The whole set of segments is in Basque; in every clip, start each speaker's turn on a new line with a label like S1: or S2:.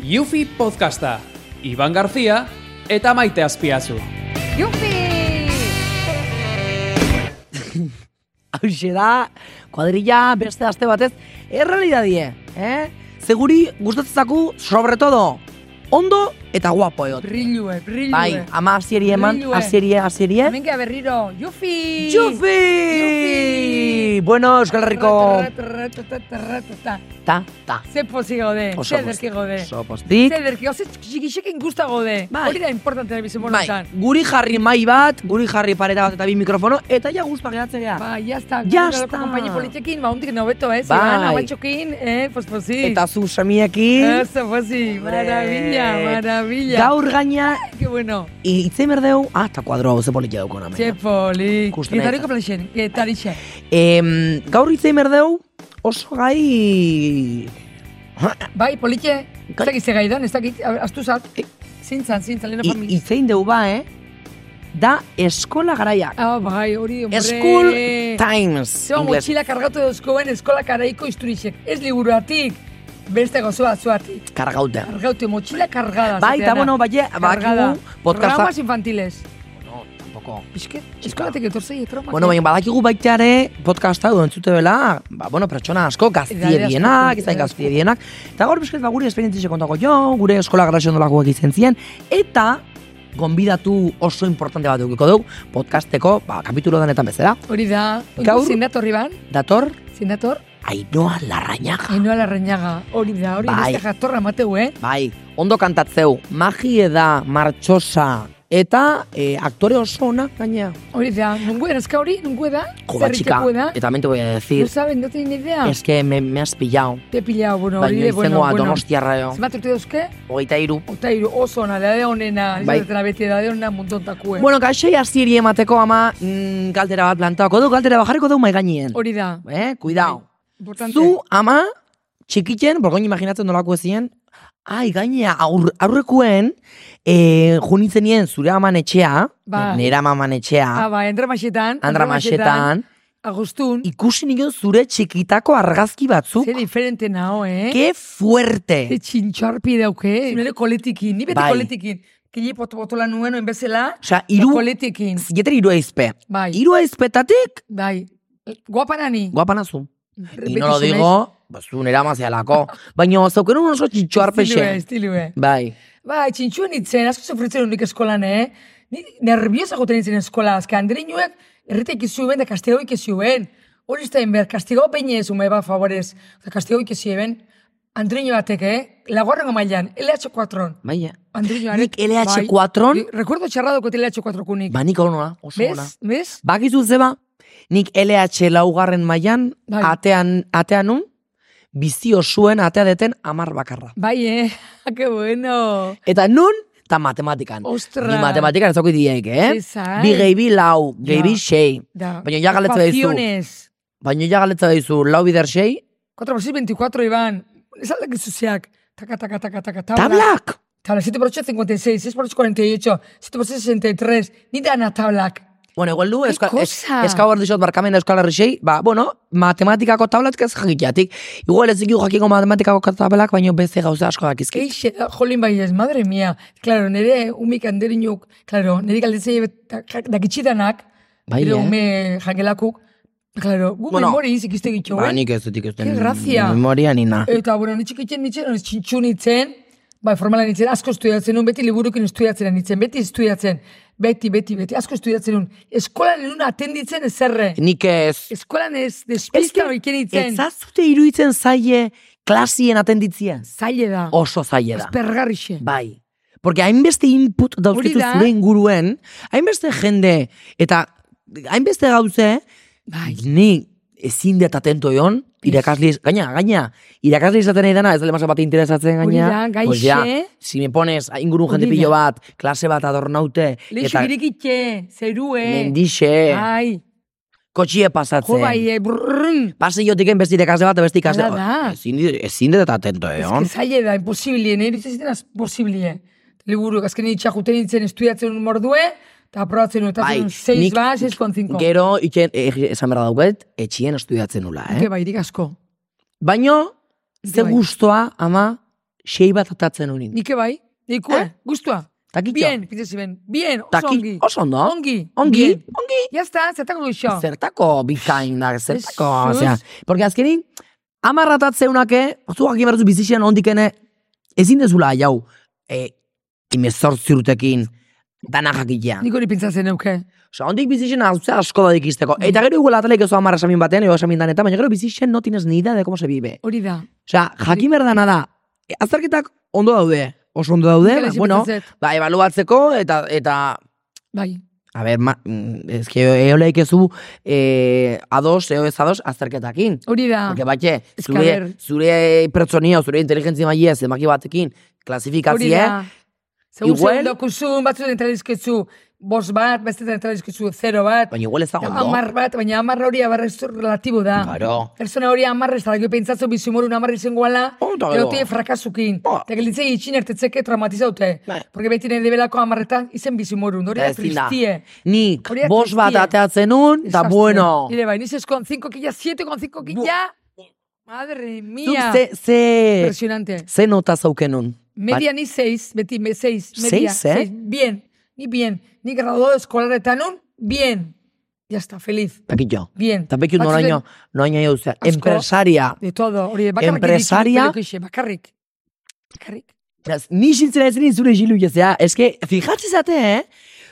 S1: Yufi Podcasta, Iban García eta Maite Azpiazu.
S2: Jupi!
S3: Hauxe da, kuadrilla beste aste batez, errealidadie, eh? Zeguri gustatzezaku sobre todo, ondo eta guapo egot.
S2: Brillue, brillue.
S3: Bai, ama azieri eman,
S2: Brillue.
S3: azierie, azierie.
S2: Hemen gea berriro. Jufi!
S3: Jufi! Bueno, Euskal Herriko...
S2: Riko...
S3: Ta, ta.
S2: Ze pozi gode,
S3: Oso
S2: ze derki gode.
S3: Oso postik.
S2: Ze derki, oso txikisekin guzta gode.
S3: Bai.
S2: Hori da importantea bizimon
S3: Bai,
S2: honetan.
S3: guri jarri mai bat, guri jarri pareta bat eta bi mikrofono, eta ja guzpa gehatzen gea.
S2: Ba, jazta.
S3: Jazta.
S2: Kompaini politekin, ba, hundik nobeto ez.
S3: Bai.
S2: Iban, abatxokin, eh, pospozi.
S3: Eta zu semiekin,
S2: Eso, pozi.
S3: Hombre.
S2: Maravilla, maravilla.
S3: gaur gaina,
S2: Qué bueno.
S3: itzei berdeu, ah, eta kuadro hau ze politia daukona.
S2: Che poli.
S3: Ikusten
S2: Gitarriko
S3: eta.
S2: plexen, gitarixe.
S3: Em, gaur hitz egin behar dugu, oso gai...
S2: Bai, politxe. Ez
S3: Gai-
S2: dakit ze gai dan, ez dakit, a- astu zat.
S3: Eh.
S2: Zintzan, zintzan, lehen
S3: hi-
S2: familia.
S3: Hitz egin dugu ba, eh? Da eskola garaiak.
S2: Ah, bai, hori, hombre.
S3: School Times.
S2: Zeo
S3: inglesez.
S2: motxila kargatu dauzkoen eskola karaiko izturixek. Ez liburuatik, beste gozoa zuatik.
S3: Kargauta.
S2: Kargautu, motxila kargada.
S3: Bai,
S2: zatea
S3: eta
S2: da.
S3: bueno, bai,
S2: Kargada.
S3: badakigu podcasta...
S2: Traumas infantiles.
S3: Tampoco.
S2: Bizket, eskolatik etorzei, traumak.
S3: Bueno, baina badakigu baita ere podcasta edo entzute bela, ba, bueno, pertsona asko,
S2: Edade
S3: gaztie
S2: asko,
S3: dienak, ez
S2: edade
S3: da
S2: asko.
S3: gaztie dienak, eta gaur bizket, ba, guri esperientzize kontako jo, gure eskola garasio ondolakoak izan ziren, eta gonbidatu oso importante bat edukiko dugu, podcasteko, ba, kapitulo denetan bezala,
S2: Hori da,
S3: Gaur-
S2: zindator, Iban,
S3: dator,
S2: zindator,
S3: Ainoa Larrañaga.
S2: Ainhoa Larrañaga, hori da, hori
S3: Bai.
S2: beste jatorra mateu, eh?
S3: Bai, ondo kantatzeu, magie da, martxosa, eta eh, aktore oso ona, gainea.
S2: Hori da, nungu erazka hori, nungu da,
S3: Joda, chica,
S2: zerritekoa da,
S3: eta mente voy a
S2: no
S3: decir,
S2: saben, no tienen idea.
S3: es que me, me has pillado.
S2: Te he pillado, bueno, hori
S3: Baina
S2: de, bueno,
S3: izengoa
S2: bueno.
S3: donostiarra jo.
S2: Zenbat urte dauzke?
S3: Hogeita iru.
S2: Ota hiru, oso ona, da de onena,
S3: Bai.
S2: bai. izatela beti, da de onena mundu ontakue.
S3: Bueno, kaixoi aziri emateko ama mm, galdera bat planteako du, galdera bajarriko dugu mai gainien.
S2: hori da,
S3: Eh, cuidao.
S2: importante.
S3: Zu ama txikiten, borgoin imaginatzen nolako ezien, ai, gainea, aur, aurrekuen, eh, junitzenien zure aman etxea,
S2: Bai.
S3: nera maman etxea,
S2: Ah, ba, Andra-Maxetan,
S3: andramaxetan,
S2: Agustun,
S3: ikusi nion zure txikitako argazki batzuk,
S2: ze diferente nao, eh?
S3: que
S2: Ze
S3: fuerte!
S2: txintxarpi dauke. Zunere koletikin, ni beti
S3: Bai.
S2: koletikin. Kili pot botola nuen oen bezala,
S3: Osa,
S2: iru...
S3: iru,
S2: koletikin.
S3: zieter iru aizpe.
S2: Bai,
S3: Iru aizpetatik,
S2: bai. Guapanani.
S3: guapanazu. Y no lo
S2: Beti
S3: digo, pues un eramazealako. Baina zaukerun oso txitxo
S2: zure Estilue,
S3: arpexe.
S2: estilue.
S3: Bai.
S2: Bai, txintxuen itzen, asko sufritzen unik eskolan, eh? Ni nerviosa goten itzen eskola, azka handreinuek erritek izuen da kastego ikizuen. Hori ez da inber, kastego peine ez ume, ba, favorez. Oza, kastego ikizuen, andreinu batek, eh? Lagorrengo mailan, LH4.
S3: Baina.
S2: Andreinu
S3: Nik LH4 on,
S2: bai. Recuerdo txarra daukot LH4 kunik.
S3: ba nik ona, oso ona.
S2: Bez? Bez?
S3: Bakizu zeba, nik LH laugarren mailan,
S2: Bai.
S3: atean, ateanun, bizio zuen atea deten amar bakarra.
S2: Bai, eh? que bueno.
S3: Eta nun, eta matematikan.
S2: Ostra.
S3: Ni matematikan ez daukit diek, eh?
S2: Zezai.
S3: Bi gehi bi lau, gehi
S2: Ja.
S3: bi sei.
S2: Da.
S3: Baina ja galetza daizu.
S2: Ecuaciones.
S3: Baina ja galetza daizu, lau bider sei.
S2: 4 por 6, 24, Iván. Ez aldak izuziak. Taka, taka, taka, taka,
S3: Tablak!
S2: Tabla 7 por 8, 56, 6 por 8, 48, 7 por 6, 63. Ni dana tablak.
S3: Bueno, igual du,
S2: Qué
S3: euskal, es,
S2: cosa.
S3: eskau behar dizot barkamen euskal herrisei, ba, bueno, matematikako tablatik ez jakiteatik. Igual ez dikigu jakiko matematikako tablak, baina beste gauza asko dakizki.
S2: Eixe da, jolin bai ez, madre mia. Claro, nire umik handerinuk, claro, nire galdetzei dakitxidanak,
S3: Bai,
S2: nire
S3: eh?
S2: ume jangelakuk, claro, gu
S3: Bueno,
S2: bueno, memori izik izte gitu,
S3: Ba,
S2: eh?
S3: nik ez dut
S2: Ke
S3: ikusten
S2: grazia.
S3: memoria nina.
S2: Eta, bueno, nitxikitzen nintzen, hori txintxu nintzen, bai, formalan nintzen, asko estudiatzen nun, beti liburukin estudiatzen nintzen, beti estudiatzen, beti, beti, beti, asko estudiatzen nun. Eskolan nun atenditzen ezerre.
S3: Nik ez.
S2: Eskolan ez, despista hoiken nintzen.
S3: Ezazute iruditzen zaie klasien atenditzia.
S2: Zaile da.
S3: Oso zaie da.
S2: Pergarrixe.
S3: Bai. Porque hainbeste input dauzketu
S2: Hori da.
S3: zure inguruen, hainbeste jende, eta hainbeste gauze,
S2: Bai.
S3: ni ezin dut atento egon, irakasli, gaina, gaina, irakasli izaten nahi dana, ez dela masa bat interesatzen
S2: Hori
S3: gaina.
S2: da, gaixe.
S3: Pues ja, si me pones ingurun jende
S2: Hori da.
S3: pilo bat, klase bat adornaute,
S2: Leixo birikitxe, zerue.
S3: mendixe,
S2: Ai,
S3: kotxie
S2: jo
S3: pasatzen.
S2: bai, eh, brrrn.
S3: Paseiotik beste irakasle bat, beste ikasle
S2: Hala da.
S3: bat. Ezin, di- ezin dut atento
S2: Ez
S3: egon.
S2: que zaila da, imposibili, nire irutzen ziten az posibili. Liburu, azken itxa juten nintzen estudiatzen un mordue, eta aprobatzen un,
S3: Bai,
S2: eta un 6
S3: nik-
S2: ba, 6,5.
S3: Gero, iken, eh, esan behar dauket, etxien estudiatzen nula, eh?
S2: Ke bai, dik asko.
S3: Baino, ze
S2: Bai.
S3: gustoa, ama, sei bat atatzen honin.
S2: Nike bai, neikue,
S3: Eh.
S2: guztua.
S3: Takitxo.
S2: Bien, pite ziren. Bien, oso
S3: Taki-
S2: ongi.
S3: oso ondo.
S2: Ongi.
S3: Ongi,
S2: Bien.
S3: ongi.
S2: Ya está, zertako goixo.
S3: Zertako bikain da, zertako,
S2: Jesus.
S3: osea. Porque azkenin, amarratatzeunak, zuak iberatu bizixen ondikene, ezin dezula jau, e, imezortzi urtekin, dana jakitea.
S2: Nik hori pintza zen neuke.
S3: Osa, ondik bizixen azuzea asko da ikisteko.
S2: Mm.
S3: Eta gero igual atalek oso amarra esamin batean, ego esamin danetan, baina gero bizixen no tienes ni idea de cómo se vive.
S2: Hori da.
S3: Osa, jakin berdana da, e, azterketak ondo daude, oso ondo daude,
S2: Nik
S3: ba,
S2: hori
S3: bueno,
S2: pentsatzen dut.
S3: ba, ebaluatzeko, eta, eta
S2: Bai.
S3: A ber, ma, mm, ez que eo leikezu eh, ados, eo ez ados, azterketakin.
S2: Hori da.
S3: Porque batxe,
S2: Ez que a
S3: zure,
S2: ber.
S3: zure pertsonia, zure inteligentzia maia zemaki batekin
S2: Hori
S3: klasifikatzea,
S2: da. Segun
S3: Igual-
S2: igual... dokuzun, batzuten entralizketzu, bos bat, bestetan entralizketzu, zero bat.
S3: baina igual ez da ondo.
S2: Amar bat, baina amar hori abarrez relatibo da.
S3: Claro.
S2: Persona hori amarrez, eta lagio pentsatzu bizumorun amarri zengo ala,
S3: Oh, eta
S2: gero
S3: gero.
S2: tie frakasukin.
S3: Oh.
S2: Eta gelitzei itxin ertetzeke traumatizaute.
S3: Bai.
S2: Porque beti nire debelako amarretan izen bizumorun. Hori da
S3: Ezin da.
S2: tristie.
S3: Nik,
S2: Hori da
S3: bos bat
S2: tristie.
S3: ateatzen nun, eta
S2: Desastre.
S3: bueno.
S2: Nire bai, nizes con 5 killa, 7 con 5 killa. Madre
S3: Zuk
S2: mía.
S3: ze, ze,
S2: Impresionante.
S3: ze nota zauken nun.
S2: Media ni seis, beti me seis.
S3: Seis,
S2: Media,
S3: eh?
S2: Bien, ni bien. Ni graduado escolaretan un, bien. Ya está, feliz.
S3: Bakit jo.
S2: Bien.
S3: Eta pekiut
S2: Batzuten
S3: noraino, noraino jau zea.
S2: asko.
S3: Empresaria.
S2: De todo, hori bakarrik
S3: Empresaria.
S2: ditut, Nikolikoixe, bakarrik. Bakarrik.
S3: Beraz, ni xiltzen ez nien zure xilu jazea, eske, fijatzi zate, eh?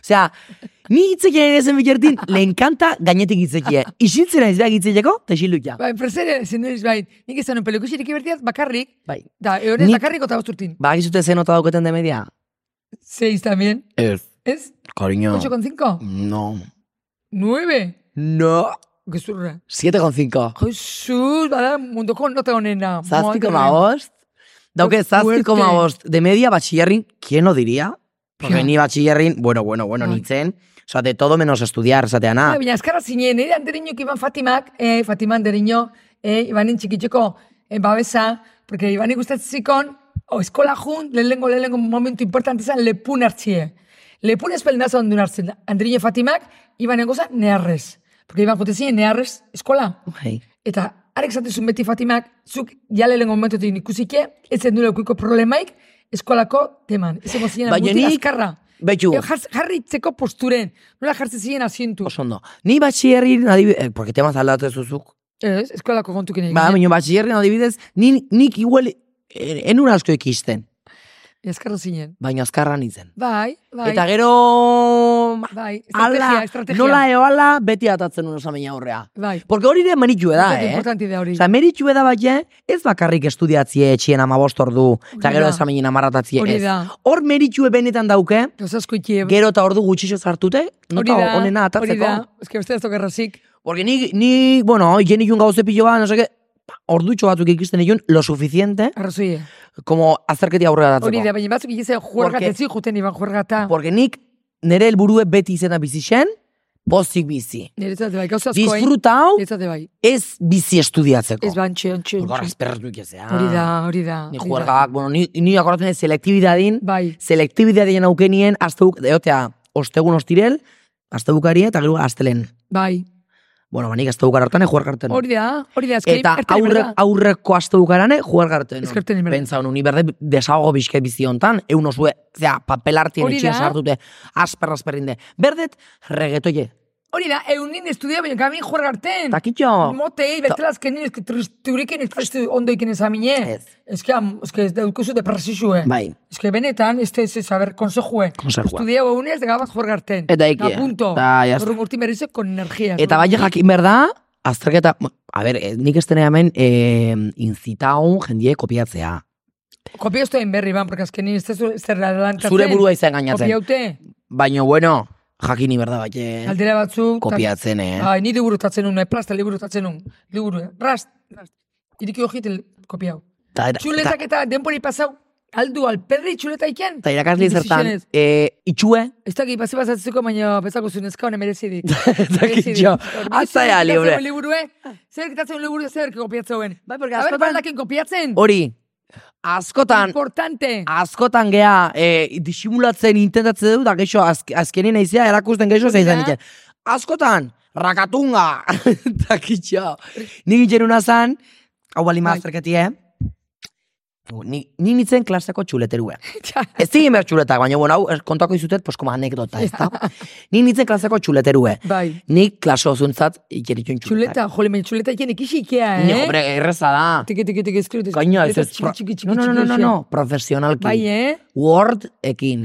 S3: Osea, ni hitzekien ezen bikertin, le encanta gainetik hitzekia. Isiltzen ez behar hitzeko, eta xilu ja.
S2: Ba, empresaria, zen nuen, bai, nik ez zanun pelikusirik ibertiaz, bakarrik.
S3: Bai.
S2: Da, egonez
S3: Nik-
S2: bakarrik eta bosturtin.
S3: Ba, gizute zen nota dauketen de media?
S2: Seis también.
S3: Ez,
S2: ¿Es?
S3: cariño.
S2: ¿Ocho con cinco?
S3: No.
S2: Nueve.
S3: No.
S2: Gezurra.
S3: 7,5.
S2: Jesus, bada munduko nota honena. Madre.
S3: 7,5. Dauke, bost. De media, batxillerrin, ¿quién lo diría? Porque
S2: Ja.
S3: ni batxillerrin, bueno, bueno, bueno,
S2: Bai.
S3: nintzen. Osa, de todo menos estudiar,
S2: Ah,
S3: zateana.
S2: baina eskarra zinen, nire handeriñok iban Fatimak, eh, Fatima handeriño, eh, ibanen txikitxeko eh, babesa, porque ibanen gustatzen zikon, o eskola jun, lehenengo, lehenengo momentu importantizan lepun hartzie. Lepun espelnazo ondun hartzen da. Andriño Fatimak, ibanen goza nearrez. Porque iban jute zinen nearrez eskola.
S3: Hei.
S2: Eta arek zatezun beti Fatimak, zuk jale lehenengo momentutik ikusike, ez zen dure okuiko problemaik, eskolako teman. Ez ego zinen
S3: Baina
S2: muti
S3: nik-
S2: azkarra.
S3: Betxu.
S2: Eh, jarz- Jarritzeko posturen, nola jartzen ziren asientu.
S3: Oso ondo. Ni batxillerrin, adibidez, eh, porque tema zaldatu zuzuk.
S2: Ez, eskolako kontukin egin.
S3: Ba, baina batxillerrin adibidez, ni, nik igual eh, enun asko ikisten,
S2: Eskarro zinen.
S3: baina azkarra nintzen.
S2: Bai, bai.
S3: Eta gero... ba,
S2: Bai, estrategia,
S3: Ala,
S2: estrategia.
S3: nola eoala, beti atatzen nuen osamena aurrea.
S2: Bai.
S3: Porque hori ere meritxue da,
S2: Importante,
S3: eh?
S2: importante da hori.
S3: Osa, meritxue da baina, ez bakarrik estudiatzie etxien amabost ordu, eta
S2: Hori
S3: gero
S2: da.
S3: esamenen amarratatzie
S2: Hori
S3: ez.
S2: da.
S3: Hor meritxue benetan dauke,
S2: Gauza asko ikie.
S3: gero eta ordu gutxixo zartute, nota onena
S2: Hori da,
S3: atatzeko.
S2: ez que beste ez tokerrazik.
S3: Porque ni, ni bueno, hoi ikun gauze pilo bat, no seke, ordutxo batzuk ikisten ikun, lo suficiente,
S2: Arrazoie.
S3: como azterketi aurrera datzeko.
S2: Hori da, baina batzuk ikizen juergat,
S3: Porque-
S2: ez juten iban juergata.
S3: Porque nik nere helburue beti izena bizi zen, pozik bizi.
S2: Niretzat bai, gauza asko. eh?
S3: Disfruta hau,
S2: Niretzat bai.
S3: ez bizi estudiatzeko.
S2: Ez bantxe, ontxe,
S3: Porque horra
S2: ontxe.
S3: esperratu ikasea.
S2: Hori da, hori da.
S3: Ni
S2: hori da.
S3: juergak, bueno, ni, ni akordatzen ez selektibidadin,
S2: Bai,
S3: selektibidadien aukenien, azte buk, eotea, ostegun ostirel, azte bukari eta gero astelen.
S2: bai.
S3: Bueno, banik azte bukara hartan, juergarten.
S2: Hori da, hori da. Ezkerin,
S3: Eta
S2: erten
S3: aurre,
S2: berda.
S3: aurreko aste bukarane, jugar garte.
S2: Eskertzen inberda.
S3: Pentsa honu, ni berde desago bizke bizi hontan, eun osue, zera, papel hartien
S2: Hori
S3: etxia
S2: da.
S3: sartute, asper asperrinde. Berdet, regetoie.
S2: Hori da, eunin estudia, baina kamin juergarten.
S3: Takitxo.
S2: Motei, betela azkenin, eske tristuriken, ez tristu ondoiken ezamine.
S3: Ez.
S2: Ez que, am- ez que, ez daukuzu depresizue.
S3: Bai.
S2: Ez que benetan, ez ez ez, a ber, konsejue.
S3: Konsejua.
S2: Estudia gugunez, de gabaz juergarten.
S3: Eta ikie.
S2: Da punto.
S3: Ta, ya está.
S2: Horren urtin berrize, con energia.
S3: Eta bai jakin berda, azterketa, a ber, eh, nik estene hemen, eh, inzitaun jendie kopiatzea.
S2: Kopia esto en berri, ban, porque azkenin ez ez zer adelantatzen.
S3: Zure burua izan gainatzen.
S2: Kopiaute,
S3: Baina, bueno, jakini berda bai, eh,
S2: aldera batzu.
S3: kopiatzen, eh.
S2: Ai, ni liburutatzen nun, eh, plasta liburutatzen nun. Liburu, eh. rast, rast. Iriki hojitel kopiau.
S3: Ta- ta-
S2: Txuletak eta denbori pasau, aldu alperri txuleta iken.
S3: Eta irakasle zertan,
S2: Decisiones.
S3: eh, itxue,
S2: Ez dakit, pase pasatzeko, baina bezako zunezka honen merezidik.
S3: dakit jo. Azaia libre.
S2: liburue, zer kitatzen liburue, zer kopiatzeuen.
S3: Bai, porque
S2: A ber,
S3: askotan-
S2: baldakin kopiatzen.
S3: hori, askotan,
S2: Importante.
S3: Ah. askotan gea e, disimulatzen intentatzen dut, da geixo azk, azkenin naizea erakusten geixo zein
S2: Hori da.
S3: zen Askotan, rakatunga, takitxo. Ni gitxen una zan, hau bali
S2: Bai.
S3: mazterketie, Ni, ni nintzen klasako txuleterua.
S2: Ja.
S3: Ez ziren behar txuletak, baina bueno, hau er, kontako izutet, pues, koma anekdota, ez da? Ni nintzen klasako txuleterue.
S2: Bai.
S3: Nik klaso zuntzat ikeritun txuletak.
S2: Txuleta, jole, men txuleta ikien ikixikia, eh?
S3: Ni, hombre, erreza da.
S2: Tiki, tiki, tiki, eskritu.
S3: Koño, ez ez.
S2: Txiki, txiki, txiki,
S3: no, no, no, no, no, no, profesionalki.
S2: Bai, eh?
S3: Word ekin.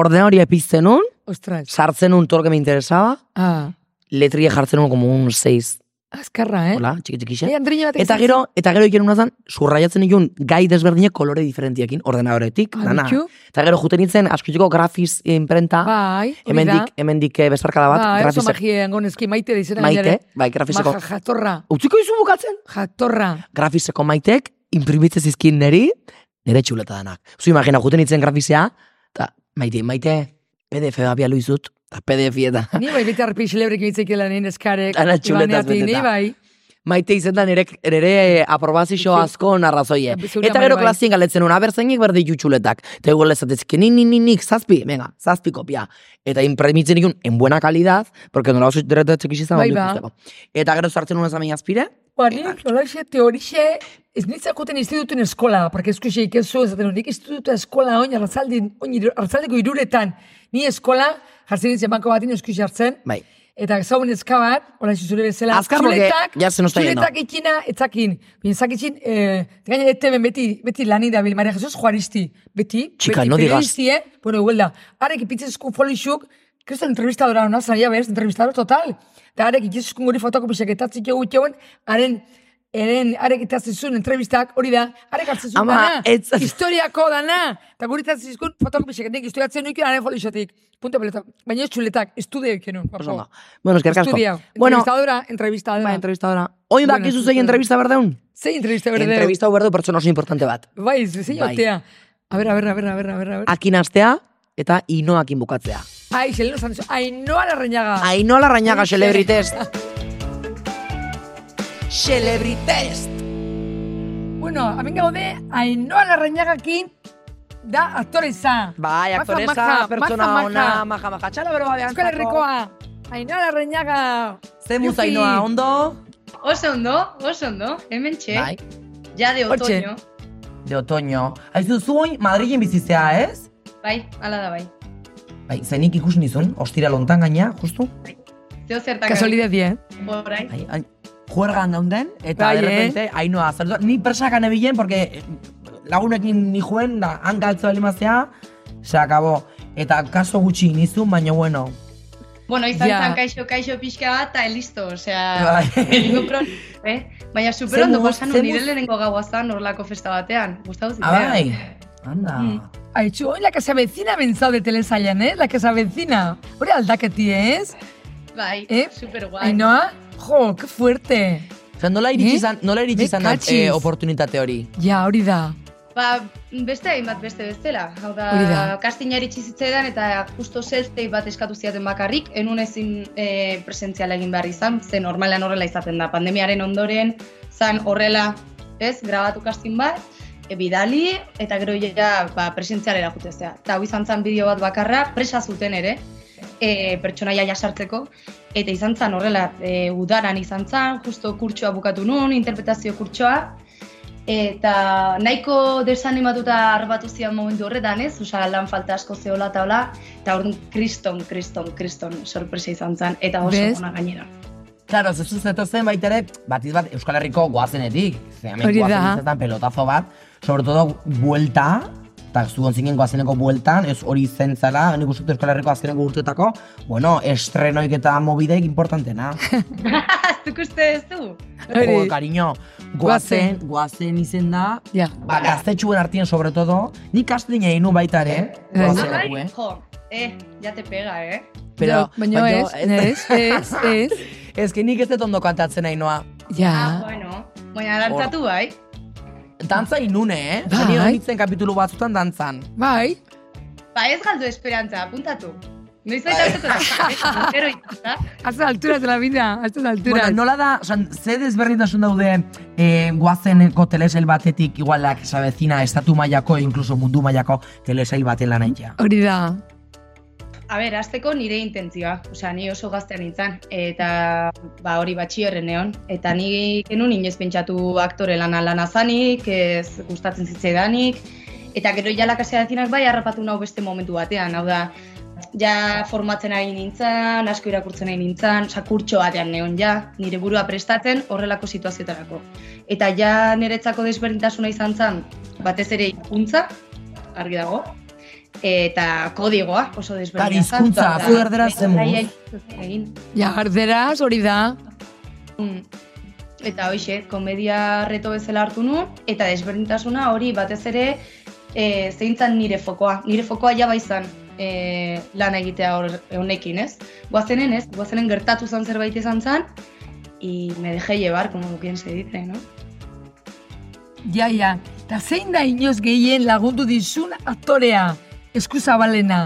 S3: Orden hori epizten nun,
S2: Ostras.
S3: sartzen nun torke me interesaba,
S2: Ah,
S3: letrie jartzen nun como un 6.
S2: azkarra, eh?
S3: Hola, txiki txikixe.
S2: Eh, Andreina batek
S3: Eta
S2: izan
S3: gero, eta gero iken unazan, zurraiatzen ikun gai desberdinek kolore diferentiekin, ordenadoretik,
S2: Ah,
S3: dana.
S2: bitxu.
S3: Eta gero juten nintzen, askutiko grafiz imprenta,
S2: Bai, hori da.
S3: hemendik, hemendik eh, bezarkada bat,
S2: Ba, oso
S3: grafizek.
S2: magia gonezki, maite da izena.
S3: Maite,
S2: gainera.
S3: bai, grafiseko-
S2: Ma, ja- jatorra,
S3: Utziko izu bukatzen?
S2: jatorra.
S3: Grafiseko maitek, imprimitzez izkin neri, nire txuleta danak. Zu imagina, juten nintzen grafizea, eta maite, maite, PDF abia luizut, eta PDF eta
S2: Ni bai bete arpi xelebrik bitzekela nien eskarek.
S3: Ana txuletaz
S2: laneatik, Ni
S3: beteta.
S2: bai,
S3: maite izen da nire, nire aprobazio asko narrazoie.
S2: Zure
S3: Eta
S2: amari
S3: gero
S2: bai.
S3: klasien galetzen nuen, abertzainik berdi jutxuletak. Eta igual ez atezke, ni, ni, ni, nik, zazpi, venga, zazpi kopia. Eta imprimitzen ikun, en buena kalidad, porque nola oso deretatzek izan,
S2: Bai,
S3: ondo
S2: ba.
S3: ikusteko. Eta gero sartzen nuen zamen azpire,
S2: Ba, nik, hola xe, teorixe, ez nintzakuten institutun eskola, porque eskuxe ikezu, ez dut, nik institutua eskola oin, arratzaldi, oin, hiru- arratzaldeko iruretan, ni eskola, jartzen nintzen banko batin eskuxe hartzen,
S3: bai.
S2: eta zauen ezkabat, hola xe zure bezala,
S3: Azkar, porque ya se nos está yendo.
S2: txuletak itxina, etzakin, bien zakitxin, eh, gaina eteben beti, beti lani da, bil, Maria Jesus Juaristi, beti,
S3: Chica,
S2: beti
S3: no digas.
S2: periodisti, eh? bueno, igual da, arek ipitzezku folixuk, kristo entrevistadora hona, zaila bez, entrevistadora total, eta arek ipitzezku guri fotokopisak etatzik egu itxeuen, haren, Eren, arek itazizun entrevistak, hori da, arek hartzizun
S3: Ama,
S2: dana,
S3: ez-
S2: historiako dana, eta guri itazizun fotokopisak etik, historiatzen nuken haren folixotik, punto pelota, baina ez txuletak, estudioik genuen,
S3: Oso ondo. Bueno, eskerrik asko.
S2: Estudiao.
S3: Bueno,
S2: Oh. entrevistadora, entrevistadora.
S3: ba, entrevistadora. Oin
S2: Bueno,
S3: bakizu zei
S2: entrevistadora.
S3: entrevista berdeun?
S2: Zein entrevista berde.
S3: Entrevista hau berdeu pertsona oso importante bat.
S2: Bai, ze- zein
S3: Bai.
S2: otea. A ber, a ber, a ber, a ber, a ber, a ber.
S3: Akin astea eta inoakin bukatzea.
S2: Ai, Xeleno Sancho. Ainhoa Larrañaga.
S3: Ainola Rañaga,
S2: Oixe.
S3: celebritest. Celebritest.
S2: Bueno, hemen gaude, Ainhoa Larrañagakin da aktoreza.
S3: Bai,
S2: Maja,
S3: aktoreza,
S2: maja, maja,
S3: pertsona
S2: maja.
S3: ona, maja, maja, txala bero babean.
S2: Euskal Herrikoa. Ainhoa Larrañaga.
S3: Zemuz
S2: Yupi.
S3: ainoa, ondo?
S4: Oso ondo, oso ondo, hemen txe,
S3: Bai,
S4: ja de
S2: Hortxe.
S4: otoño.
S3: de otoño. Aizu, zu oin Madrilen bizizea, ez?
S4: Bai, ala da bai.
S3: Bai, zenik ikus nizun, ostira lontan gaina, justu?
S4: Zeo zertak
S2: Kasualidadie, eh?
S4: ari orain.
S3: Bai, hain- juergan gaunden, eta
S2: Bai,
S3: de repente, ainoa, saluda. Ni persakan ebilen, porque eh, lagunekin ni juen, da, hankaltzo alimazea, se acabó. Eta kaso gutxi nizun, baina bueno.
S4: Bueno, izan
S2: Ja.
S4: zan kaixo, kaixo pixka bat, eta listo, osea,
S2: Eh.
S3: Bai.
S4: ningún problema, eh? Baina super ondo,
S3: Zemuz,
S4: pasan un
S3: zemuz.
S4: nire lehenengo gaua zan horlako festa batean, gustatu zitea.
S3: Abai, bai.
S2: Eh.
S3: anda.
S4: Mm.
S2: Aitxu, hoy la que se avecina bentzau de telesailan, eh? La que se avecina. Hori aldaketi, ez?
S4: Bai,
S2: Eh?
S4: super guai.
S2: Ainhoa, jo, que fuerte.
S3: Osea, nola iritsi
S2: Eh?
S3: izan, nola iritsi
S2: Me
S3: izan da,
S2: cachis.
S3: eh, oportunitate hori?
S2: Ja, hori da.
S4: Ba, beste hainbat beste bestela. Hau
S2: Hori
S4: da,
S2: da.
S4: kastina iritsi zitzaidan eta justo selfie bat eskatu ziaten bakarrik, enun ezin e, presentziala egin behar izan, ze normalean horrela izaten da. Pandemiaren ondoren, zan horrela, ez, grabatu kastin bat, e, bidali, eta gero ja ba, presentzialera jutezea. Eta hau izan zen bideo bat bakarra, presa zuten ere, e, pertsonaia jasartzeko, eta izan zen horrela, e, udaran izan zen, justo kurtsoa bukatu nun, interpretazio kurtsoa, Eta nahiko desanimatuta arbatu zian momentu horretan, ez? Osa, lan falta asko zeola eta hola, eta orduan kriston, kriston, kriston sorpresa izan zen, eta oso
S2: Bez?
S4: ona gainera.
S5: Claro, zezu zetozen baita ere, batiz bat Euskal Herriko goazenetik. Ze hemen
S2: Hori da.
S5: goazen izan pelotazo bat, sobre todo buelta, eta zu gontzinen goazeneko bueltan, ez hori zen zela, nik uste dut Euskal Herriko azkeneko urteetako, bueno, estrenoik eta mobideik importantena.
S4: Zuk uste ez du?
S5: Jo, cariño, goazen,
S2: Goazen.
S5: goazen izen da,
S2: Ja.
S5: ba, gaztetxuen artien sobre todo, nik astina egin nu baita ere,
S2: Eh.
S5: goazeneku, eh?
S4: Bai. Jo, eh, ja te pega, eh?
S5: Pero,
S2: baina ez, eh. ez, ez, ez.
S5: ez que nik ez dut ondo kantatzen nahi noa.
S4: Ah,
S2: Ja,
S4: bueno, baina dantzatu bai.
S5: Dantza inune, eh?
S2: Bai.
S5: Ni honitzen kapitulu batzutan dantzan.
S2: bai.
S4: Ba ez galdu esperantza, apuntatu. Noiz baita hartuko Gero ikita.
S2: A estas alturas de la vida, a estas alturas.
S5: Bueno, nola da, osan, ze desberdintasun daude eh, guazeneko telesail batetik igualak sabezina estatu mailako, inkluso mundu mailako telesail baten lan aitea.
S2: Hori da.
S4: a ber, azteko nire intentzioa. Osea, ni oso gaztean nintzen, eta ba, hori batxierren neon. Eta ni genuen inoiz pentsatu aktore lana lana zanik, ez gustatzen zitzaidanik, eta gero ja lakasea dezinak bai harrapatu nau beste momentu batean, hau da, ja formatzen ari nintzen, asko irakurtzen ari nintzen, sakurtxo batean neon ja, nire burua prestatzen horrelako situazioetarako. Eta ja niretzako desberdintasuna izan zen, batez ere hizkuntza argi dago, eta kodigoa oso
S3: Kari,
S4: desberdina zen.
S3: hizkuntza,
S4: Eta-
S3: zu erderaz zen
S4: Bai,
S3: buruz.
S4: bai, egin.
S2: Ja, garderaz, hori da.
S4: Mm. Eta hoxe, komedia reto bezala hartu nu, eta desberdintasuna hori batez ere e, zeintzan nire fokoa. Nire fokoa ja baizan e, lan egitea hor, honekin, ez? Guazenen, ez? Guazenen gertatu zan zerbait izan zan, y me dejé llevar, como quien se dice, no?
S2: Ja, ja. Eta zein da inoz gehien lagundu dizun aktorea? Eskuzabalena.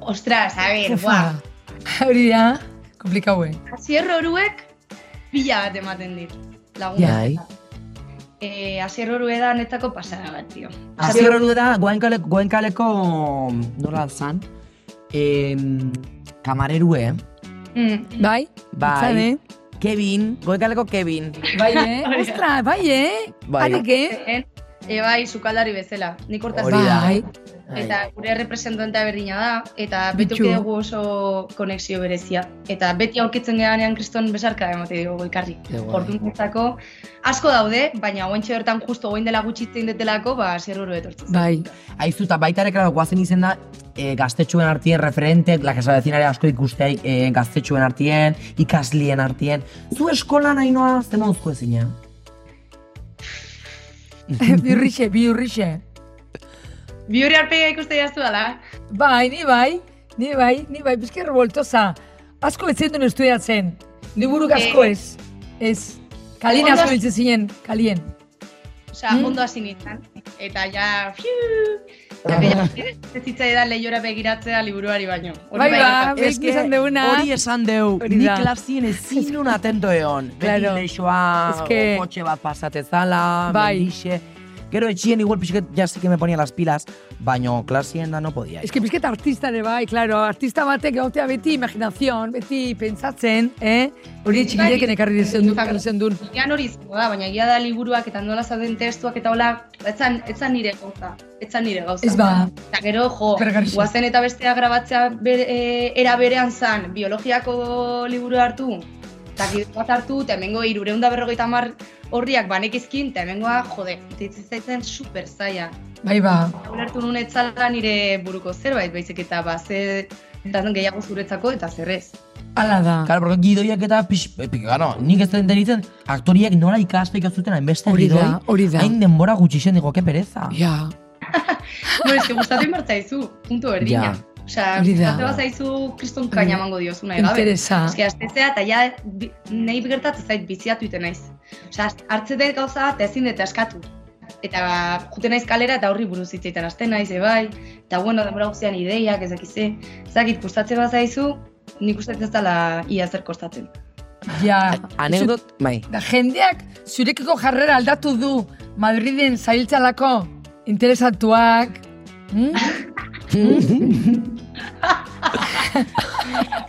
S4: Ostras, a ver,
S2: Ufa.
S4: buah.
S2: Hori da, eh? komplikaue.
S4: Asier horuek pila bat ematen dit. Lagun.
S6: Jai.
S4: E, asier horue da netzako pasada bat, tio.
S3: Azirro du da, guainkaleko, guainkaleko nola zan, em, kamarerue,
S4: Mm.
S2: Bai? eh?
S3: Bai.
S2: Zane?
S3: Kevin, goekaleko Kevin.
S2: Bai, eh? Ostra, bai, eh?
S6: Bai.
S2: Arek, eh?
S4: Zeren, E, bai, sukaldari bezala, nik hortaz ba-
S3: Hori da.
S2: Bai.
S4: Eta gure representantea berdina da, eta
S2: Bitxu.
S4: beti uki dugu oso konexio berezia. Eta beti aurkitzen geanean kriston besarka emate dugu elkarri.
S6: Ke guai.
S4: Orduntzako asko daude, baina oentxe bertan justo oin dela gutxitzen detelako, ba, zerruru etortzen. zait.
S2: Bai.
S3: Aizu, eta baita ere, klaro, guazen izen da, e, gaztetxuen artien referentek, lakasa dezinare asko ikusteai e, gaztetxuen artien, ikaslien artien. Zu eskola nahi noa, ze mozko ezin, eh?
S2: bi urrixe, bi urrixe.
S4: Bi hori arpega ikuste jaztu dala.
S2: Bai, ni bai, ni bai, ni bai, bizker revoltosa. Asko ez zen estudiatzen. Liburuk asko ez. Ez. Kalin
S4: Ondo
S2: asko
S4: hasi-
S2: biltzen zinen, kalien. Mm.
S4: Osa, ondo hasi nintzen. Eta ja, fiu! Eta
S2: Bai,
S4: ja, ez zitzaidan lehiora begiratzea liburuari baino. Hori
S2: Bai,
S4: bai,
S2: ba.
S4: gertatu.
S2: Bek esan deuna.
S3: hori esan deu,
S2: Hori
S3: ni
S2: da.
S3: klasien ezin nun atento egon.
S2: Claro.
S3: Beti leixoa,
S2: Es que-
S3: kotxe bat pasatezala,
S2: Bai.
S3: mendixe. Gero etxien igual pixket jazti que me ponía las pilas, baino klasien da no podia.
S2: Ez que bizketa artista ere bai, claro, artista batek egotea beti imaginazion, beti pentsatzen, eh? Hori txikideken ekarri dizen duen, ekarri zen duen.
S4: Ean hori izango da, baina egia da liburuak eta nola zauden testuak eta hola, etzan, etzan nire gauza, etzan nire gauza.
S2: Ez ba.
S4: Eta gero, jo,
S2: Bergarixi.
S4: guazen eta bestea grabatzea bere, e, era berean zan, biologiako liburu hartu, eta gide bat hartu, eta hemengo irureunda berrogeita mar horriak banekizkin, eta hemengoa, jode, ditzen zaitzen super zaila.
S2: Bai, ba.
S4: Ulertu nun etzala nire buruko zerbait, baizik eta ba, ze eta gehiago zuretzako eta zerrez.
S2: Ala da.
S3: Claro, porque gidoiak eta pix, eh, pix, claro, nik ez da enteritzen, aktoriak nola ikaste ikastuten hainbeste
S2: Hori da,
S3: gidoi.
S2: hori da.
S3: Hain denbora gutxixen digo, ke pereza.
S2: Ja.
S4: No, es que gustatzen bertzaizu, puntu berdina.
S3: Ja.
S4: Osea,
S2: Hori da.
S4: gustatzen bazaizu kriston kaina emango diozuna egabe.
S2: Interesa.
S4: Eske astezea eta ja bi- nahi gertatzen zait biziatu iten naiz. Osea, ast- hartze dut gauza bat ezin dut askatu. Eta ba, juten naiz kalera eta horri buruz hitz egiten hasten naiz ebai. Eta bueno, denbora guztian ideiak, ez dakiz ze. Ez dakit gustatzen bazaizu, nik gustatzen ez dela ia zer kostatzen.
S2: Ja.
S6: Anekdot, bai.
S2: Da jendeak zurekiko jarrera aldatu du Madriden zailtzalako interesatuak. Mm?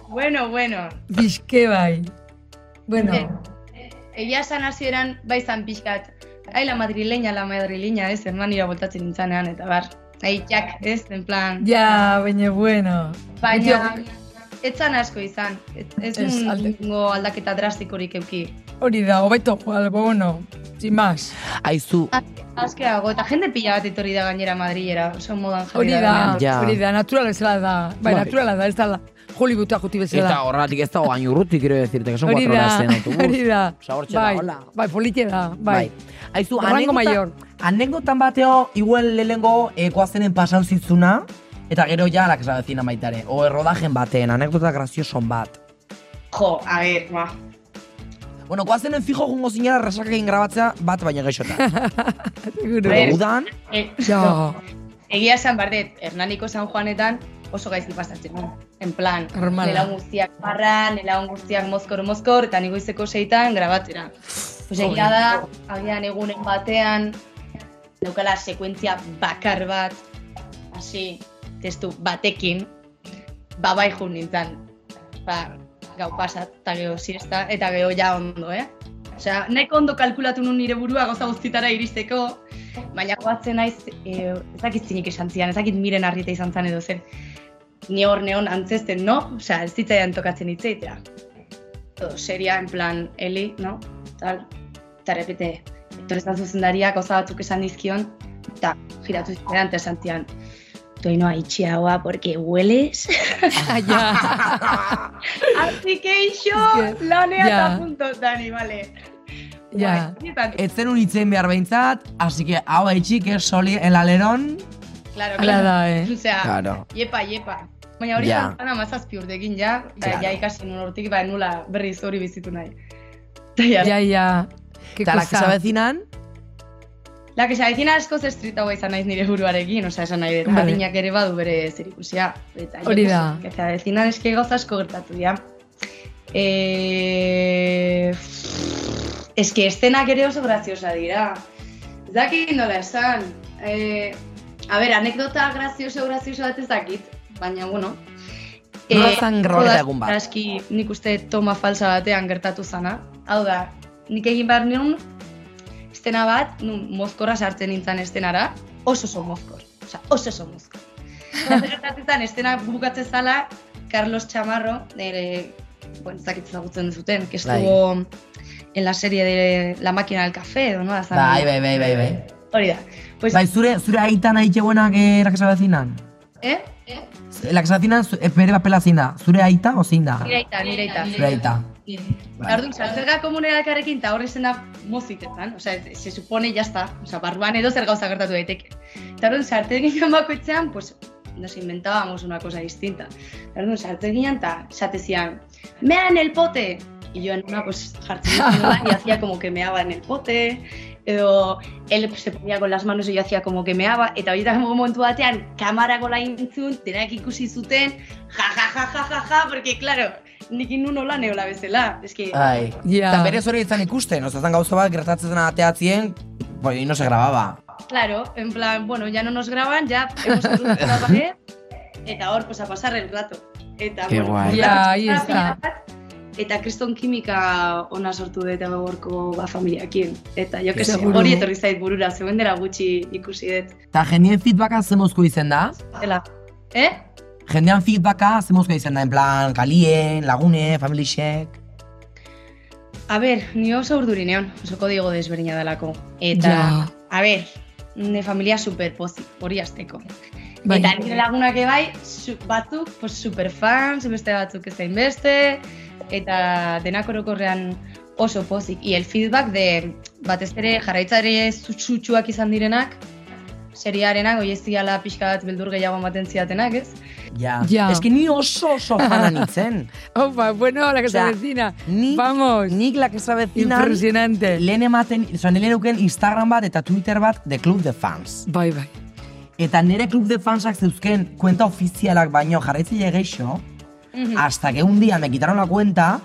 S4: Bueno, bueno.
S2: Bizke bai. Bueno,
S4: Eh, Egia esan hasieran bai zan pixkat. Ai, la madrileña, la madrileña, ez, hermanira voltatzen nintzanean, eta bar. Ai, jak, ez, en plan.
S2: ja, baina bueno.
S4: Baina,
S2: Beti
S4: etzan asko izan. Ez, ez,
S2: Ez,
S4: nun
S2: alde-
S4: ingo aldaketa drastikorik euki.
S2: Hori da, hobeto, joal, bueno, sin más.
S3: Aizu,
S4: Azkeago, eta jende pila bat etorri da gainera Madrilera, oso modan jarri
S2: Hori da,
S3: Ja.
S2: hori da, naturala bezala da. Bai,
S3: Bai.
S2: naturala da, ez da, la- Hollywooda juti
S3: eta
S2: bezala.
S3: horratik ez dago hain urruti, quiero decirte, que son
S2: Hori
S3: cuatro horas
S2: da,
S3: en autobús.
S2: hori da.
S3: Osea, hortxe
S2: Bai,
S3: da, hola.
S2: bai, politia da, bai.
S3: Bai. Aizu,
S2: Rango
S3: anekdota-
S2: mayor.
S3: Anekdotan bateo, igual eh, lehengo ekoazenen pasan zitzuna, eta gero ja la casa vecina maitare. O errodajen baten, anekdota grazioson bat.
S4: Jo, a ber, ba.
S3: Bueno, koazenen fijo jungo zinera resakekin grabatzea bat baina geixotan.
S2: Seguro.
S4: Bai.
S3: Pero udan,
S4: E,
S2: Ja,
S4: egia esan bardet, Hernaniko San Juanetan oso gaizki pasatzen. nuen. En plan,
S2: Normala.
S4: nela guztiak barra, nela guztiak mozkor-mozkor, eta niko izeko seitan grabatzera. Pues egia da, agian egunen batean, daukala sekuentzia bakar bat, hasi testu batekin, ba, bai jun nintzen. Ba, gau pasat, eta gero siesta, eta gero ja ondo, eh? Osea, nahiko ondo kalkulatu nun nire burua gauza guztitara iristeko, baina goatzen naiz, e, ezakit zinik esan zian, ezakit miren harrita izan zen edo zen. Ni hor neon antzesten, no? Osea, ez zitzaidan tokatzen itzeitera. Todo seria, en plan, Eli, no? Tal, eta repete, etorrezan zuzendariak gauza batzuk esan dizkion, eta giratu zitzaidan, eta esan zian, Toinoa itxi haua, porque hueles. Así que yo,
S2: Es que,
S4: lanea
S2: ya.
S4: eta puntos, Dani, vale.
S2: Ya.
S4: Guai, eta-
S3: Etzen un itzen behar behintzat, así que hau haitxi, que es soli el alerón.
S4: Claro,
S2: Hala
S4: claro.
S2: da, eh.
S4: Osea,
S3: Claro.
S4: jepa, jepa. Baina hori
S3: Ja.
S4: yeah. zan amazazpi urtekin ja, eta
S3: Claro.
S4: ja ikasi nun hortik, ba, nula berriz hori bizitu nahi. Eta ja,
S2: Ya, ya. Qué
S3: Eta la que se
S2: cosa.
S3: avecinan,
S4: la que saizina askoz estritagoa izan naiz nire buruarekin, osea, esan nahi dut,
S2: Vale.
S4: adinak ere badu bere zerikusia. Eta, jo,
S2: Hori da.
S4: pues, Eta dezinan eske gauza asko gertatu dira. E... Eske estenak ere oso graziosa dira. Ez dakit nola esan. E... A ber, anekdota grazioso grazioso bat ez dakit, baina bueno.
S3: Nola zan groleta
S4: todas
S3: egun bat?
S4: Aski nik uste toma falsa batean gertatu zana. Hau da, nik egin behar nion estena bat, nun mozkorra sartzen nintzen estenara, oso oso mozkor. Osa, oso oso mozkor. Eta gertatzen zen, estena bukatzen zala, Carlos Chamarro, nire, bueno, ez dakit ezagutzen duzuten, que estuvo
S3: Bai.
S4: en la serie de La máquina del café, edo, no? Azan,
S3: Bai, bai, bai, bai, bai.
S4: Hori da. Pues,
S3: Bai, zure, zure aitan aite buenak eh, la que se avecinan.
S4: eh? eh?
S3: La que se avecinan, zu- eh, bere papela zein da. Zure aita o zein da?
S4: Nire aita, nire aita.
S3: Zure aita.
S4: Bai. Orduan, saltzerga komunikarekin eta horre zena moziketan, osea, se supone, jazta, osea, barruan edo zer gauza gertatu daiteke. Eta orduan, sartzen ginen bakoitzean, pues, nos inventábamos una cosa distinta. Eta orduan, sartzen ginen eta satezian, mea en el pote! Y yo en una, pues, jartzen ginen, y hacía como que meaba en el pote, edo, él se ponía con las manos y yo hacía como que meaba, eta horietan momentu batean, kamarako laintzun, denak ikusi zuten, ja, ja, ja, ja, ja, ja, porque, claro, nik inun hola neola bezala, eske,
S3: Ai.
S2: Ja.
S3: Eta bere zure izan ikusten, oza, zan gauza bat gertatzen zena ateatzien, boi, no se grababa.
S4: Claro, en plan, bueno, ya no nos graban, ya hemos cruzado la pared, ¿eh? eta hor, pues a pasar el rato. Eta,
S3: Qué guay.
S2: Ya, ahí
S4: kriston
S2: está.
S4: pila bat, Eta kriston kimika ona sortu dut eta gorko ba, familiakin. Eta jo, que
S3: Seguru.
S4: hori etorri zait burura, zeuen dela gutxi ikusi dut.
S3: Eta jendien feedbacka ze mozko izen da?
S4: Dela, eh?
S3: Jendean feedbacka ze mozko izen da, en plan, kalien, lagune, familixek.
S4: A ber, ni oso urduri neon, oso kodigo desberdina delako. Eta,
S2: Ja.
S4: a ber, ne familia superpozik, hori azteko.
S2: Bai.
S4: Eta nire lagunak ere bai, su- batzuk, pues, superfans, beste batzuk ez zein beste, eta denak orokorrean oso pozik. I el feedback de, batez ere, jarraitzare zutxutxuak izan direnak, seriarenak, oieztiala pixka bat beldur gehiago ematen zidatenak, ez?
S3: Ja.
S2: Ja.
S3: Ez que ni oso oso fana nintzen.
S2: Opa, bueno, la que se
S3: Osea,
S2: avecina.
S3: Nik,
S2: Vamos.
S3: nik la que se avecinan,
S2: Impresionante.
S3: lehen ematen, oza, nire neuken Instagram bat eta Twitter bat de Club de Fans.
S2: Bai, bai.
S3: Eta nire Club de Fansak zeuzken kuenta ofizialak baino jarraitzaile gehiago,
S2: Mhm.
S3: hasta que un día me quitaron la cuenta,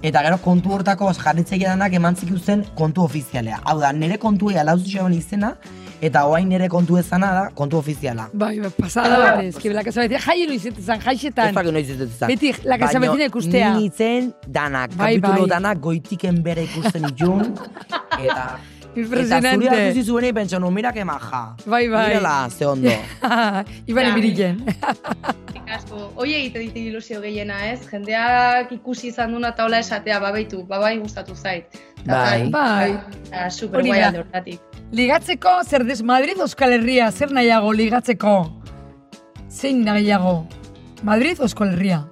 S3: eta gero kontu hortako jarritzaile danak eman zikusten kontu ofizialea. Hau da, nire kontuei alauz izena, eta oain nire kontu ezana da kontu ofiziala.
S2: Bai, bai,
S3: Ah,
S2: pasada
S3: pues
S2: batez. Que la que se avecina. Jai iluizetan,
S3: Ez
S2: jaixetan.
S3: dakit noiz ez dut izan.
S2: Beti la que se
S3: Baino,
S2: avecina ikustea.
S3: Ni nintzen danak,
S2: Bai,
S3: kapitulo
S2: bai.
S3: danak goitiken bere ikusten itun. eta, eta zure
S2: Impresionante.
S3: atuzi zuen pentsa, no, mira que maja.
S2: Bai, bai.
S3: Mirala, ze ondo.
S2: Iban
S4: Ja.
S2: ibiriken.
S4: Asko, hoi egite ditu ilusio gehiena, ez? Jendeak ikusi izan duna eta hola esatea, ba, babaitu, babai bai gustatu zait. Eta
S3: Bai.
S2: Bai.
S4: Eta super
S2: Hori
S4: guai
S2: da.
S4: alde hortatik.
S2: Ligatzeko, zer des Madrid Euskal Herria, zer nahiago ligatzeko? Zein nahiago? Madrid Euskal Herria?